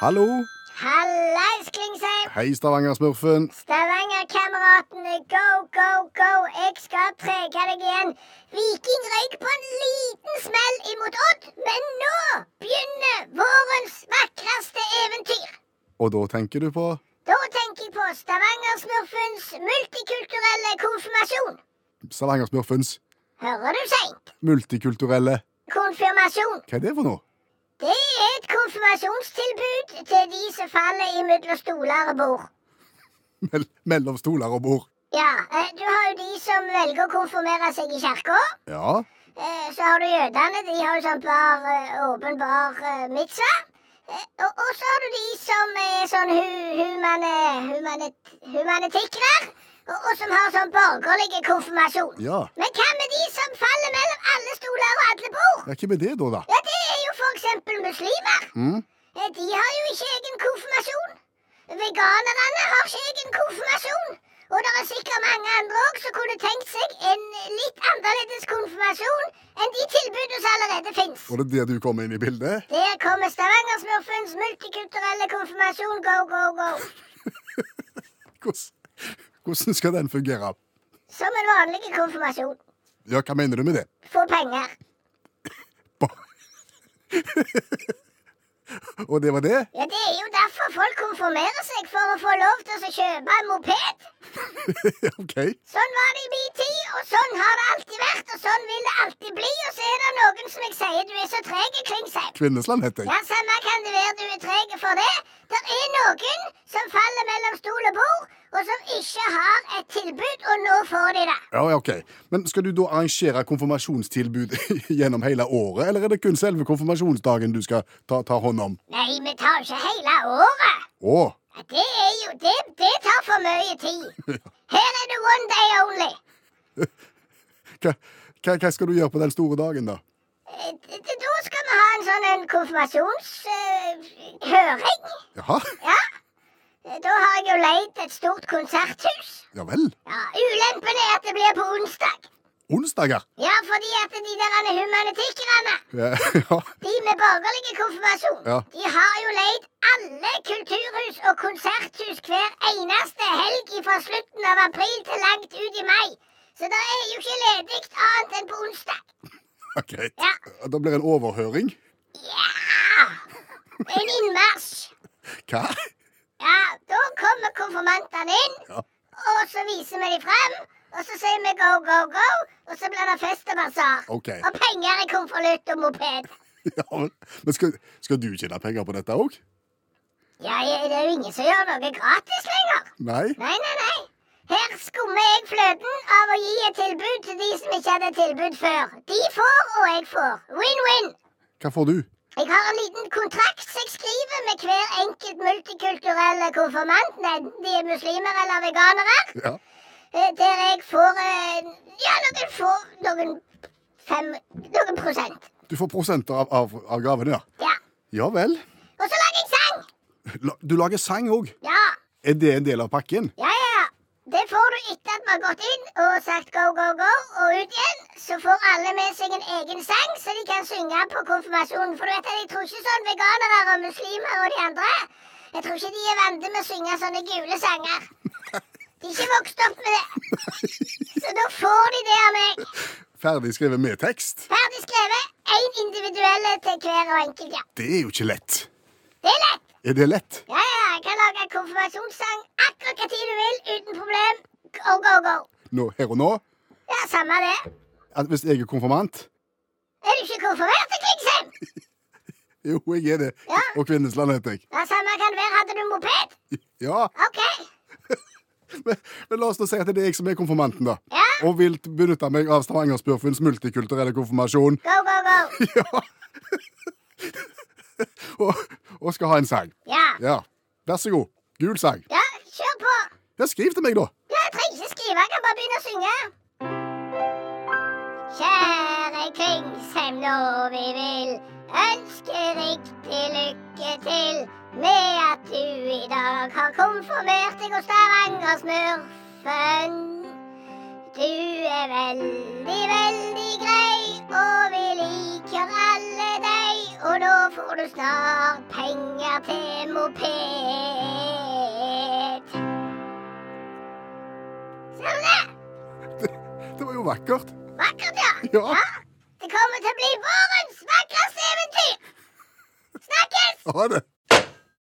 Hallo. Hallais, Klingsheim! Hei, Stavanger-smurfen. Stavanger-kameratene, go, go, go! Jeg skal trege deg igjen. Viking røyk på en liten smell imot Odd, men nå begynner vårens vakreste eventyr. Og da tenker du på Da tenker jeg på Stavanger-smurfens multikulturelle konfirmasjon. Stavanger-smurfens Hører du seint? multikulturelle Konfirmasjon. Hva er det for noe? Det er et konfirmasjonstilbud til de som faller imellom stoler og bord. Mell mellom stoler og bord. Ja, eh, du har jo de som velger å konfirmere seg i kirka. Ja. Eh, Så har du jødene, de har jo sånn bar, eh, åpen bar eh, mitzva. Eh, Og, og så har du de som er sånn hu, humane, humane, humanetikkere, og, og som har sånn borgerlig konfirmasjon. Ja. Men hva med de som faller mellom alle stoler og alle bord? Ja, Hva med det, da? da? Ja, det er jo for eksempel muslimer. Mm? Eh, De har jo ikke egen konfirmasjon. Veganerne har ikke egen konfirmasjon. Og det er sikkert mange andre òg som kunne tenkt seg en litt annerledes konfirmasjon enn de tilbudene som allerede fins. Og det er der du kommer inn i bildet? Der kommer Stavangersmurfens multikulturelle konfirmasjon go, go, go. Hvordan, hvordan skal den fungere? Som en vanlig konfirmasjon. Ja, hva mener du med det? Få penger. Og det var det? Ja, det er jo derfor folk konfirmerer seg, for å få lov til å kjøpe en moped. OK. Sånn var det i min tid, og sånn har det alltid vært, og sånn vil det alltid bli. Og så er det noen som jeg sier du er så treg, Klingsheim. Kvinnesland heter Ja, jeg. samme kan det være du er treg for det. Det er noen som faller mellom stol og bord, og som ikke har et tilbud, og nå får de det. Ja, ja, ok. Men Skal du da arrangere konfirmasjonstilbud gjennom hele året, eller er det kun selve konfirmasjonsdagen du skal ta, ta hånd om? Nei, vi tar jo ikke hele året. Å, Ja, Det er jo Det, det tar for mye tid. Her er det one day only. hva, hva, hva skal du gjøre på den store dagen, da? Eh, d- d- Da skal vi ha en sånn en eh, konfirmasjonshøring. Jaha? Ja. Da har jeg jo leid et stort konserthus. Ja vel? Ja, Ulempen er at det blir på onsdag. Onsdager? Ja, fordi at de der humanitikkerne, Ja, ja. de med borgerlig konfirmasjon, Ja. de har jo leid alle kulturhus og konserthus hver eneste helg fra slutten av april til langt ut i mai. Så det er jo ikke ledig annet enn på onsdag. ok. Ja. Da blir det en overhøring. Ja! En innmarsj. Hva? Ja, da kommer konfirmantene inn, Ja. og så viser vi dem frem. Og så sier vi go, go, go, og så blir det fest og basar. Ok. Og penger i konvolutt og moped. Ja, men men skal, skal du tjene penger på dette òg? Ja, jeg- det er jo ingen som gjør noe gratis lenger. Nei? Nei, nei, nei. Her skummer jeg fløten av å gi et tilbud til de som ikke hadde tilbud før. De får, og jeg får. Win-win. Hva får du? Jeg har en liten kontrakt som jeg skriver med hver enkelt multikulturelle konfirmant, enten de er muslimer eller veganere. Ja. Eh, Der jeg får eh, Ja, noen får noen fem Noen prosent. Du får prosenter av, av, av gavene, ja. Ja. Ja vel. Og så lager jeg sang! La- Du lager sang òg. Ja. Er det en del av pakken? Ja, ja. ja. Det får du etter at vi har gått inn og sagt go, go, go, og ut igjen. Så får alle med seg en egen sang som de kan synge på konfirmasjonen. For du vet at jeg tror ikke sånn veganere og muslimer og de andre Jeg tror ikke de er vant til å synge sånne gule sanger. De er ikke vokst opp med det. Så da får de det av meg. Ferdig skrevet med tekst? Ferdig skrevet. Én individuelle til hver og enkelt, ja. Det er jo ikke lett. Det er lett. Er det lett? Ja, ja, jeg kan lage en konfirmasjonssang akkurat hva tid du vil, uten problem. Go, go, go. Nå, her og nå? Ja, samme det. At hvis jeg er konfirmant? Er du ikke konfirmert til Klingsheim? Jo, jeg er det. Ja. Og Kvinnesland heter jeg. Ja, samme kan det være. Hadde du moped? Ja, OK. men, men la oss nå si at det er jeg som er konfirmanten, da. Ja. Og vil benytte meg av Stavangerspurfens multikulturelle konfirmasjon. Go, go, go. Ja. og, og skal ha en sang. Ja. Ja, vær så god. Gul sang. Ja, kjør på. Ja, skriv til meg, da. Ja, jeg trenger ikke skrive, jeg kan bare begynne å synge. Kjære Klingsheim, nå vi vil ønske riktig lykke til med at du i dag har konfirmert deg hos Stavanger-smurfen. Du er veldig, veldig grei, og vi liker alle deg. Og nå får du snart penger til moped. Ser du det? Det var jo vakkert. Vakkert, ja. Ja. Det kommer til å bli vårens vakreste eventyr. Snakkes! Ha det.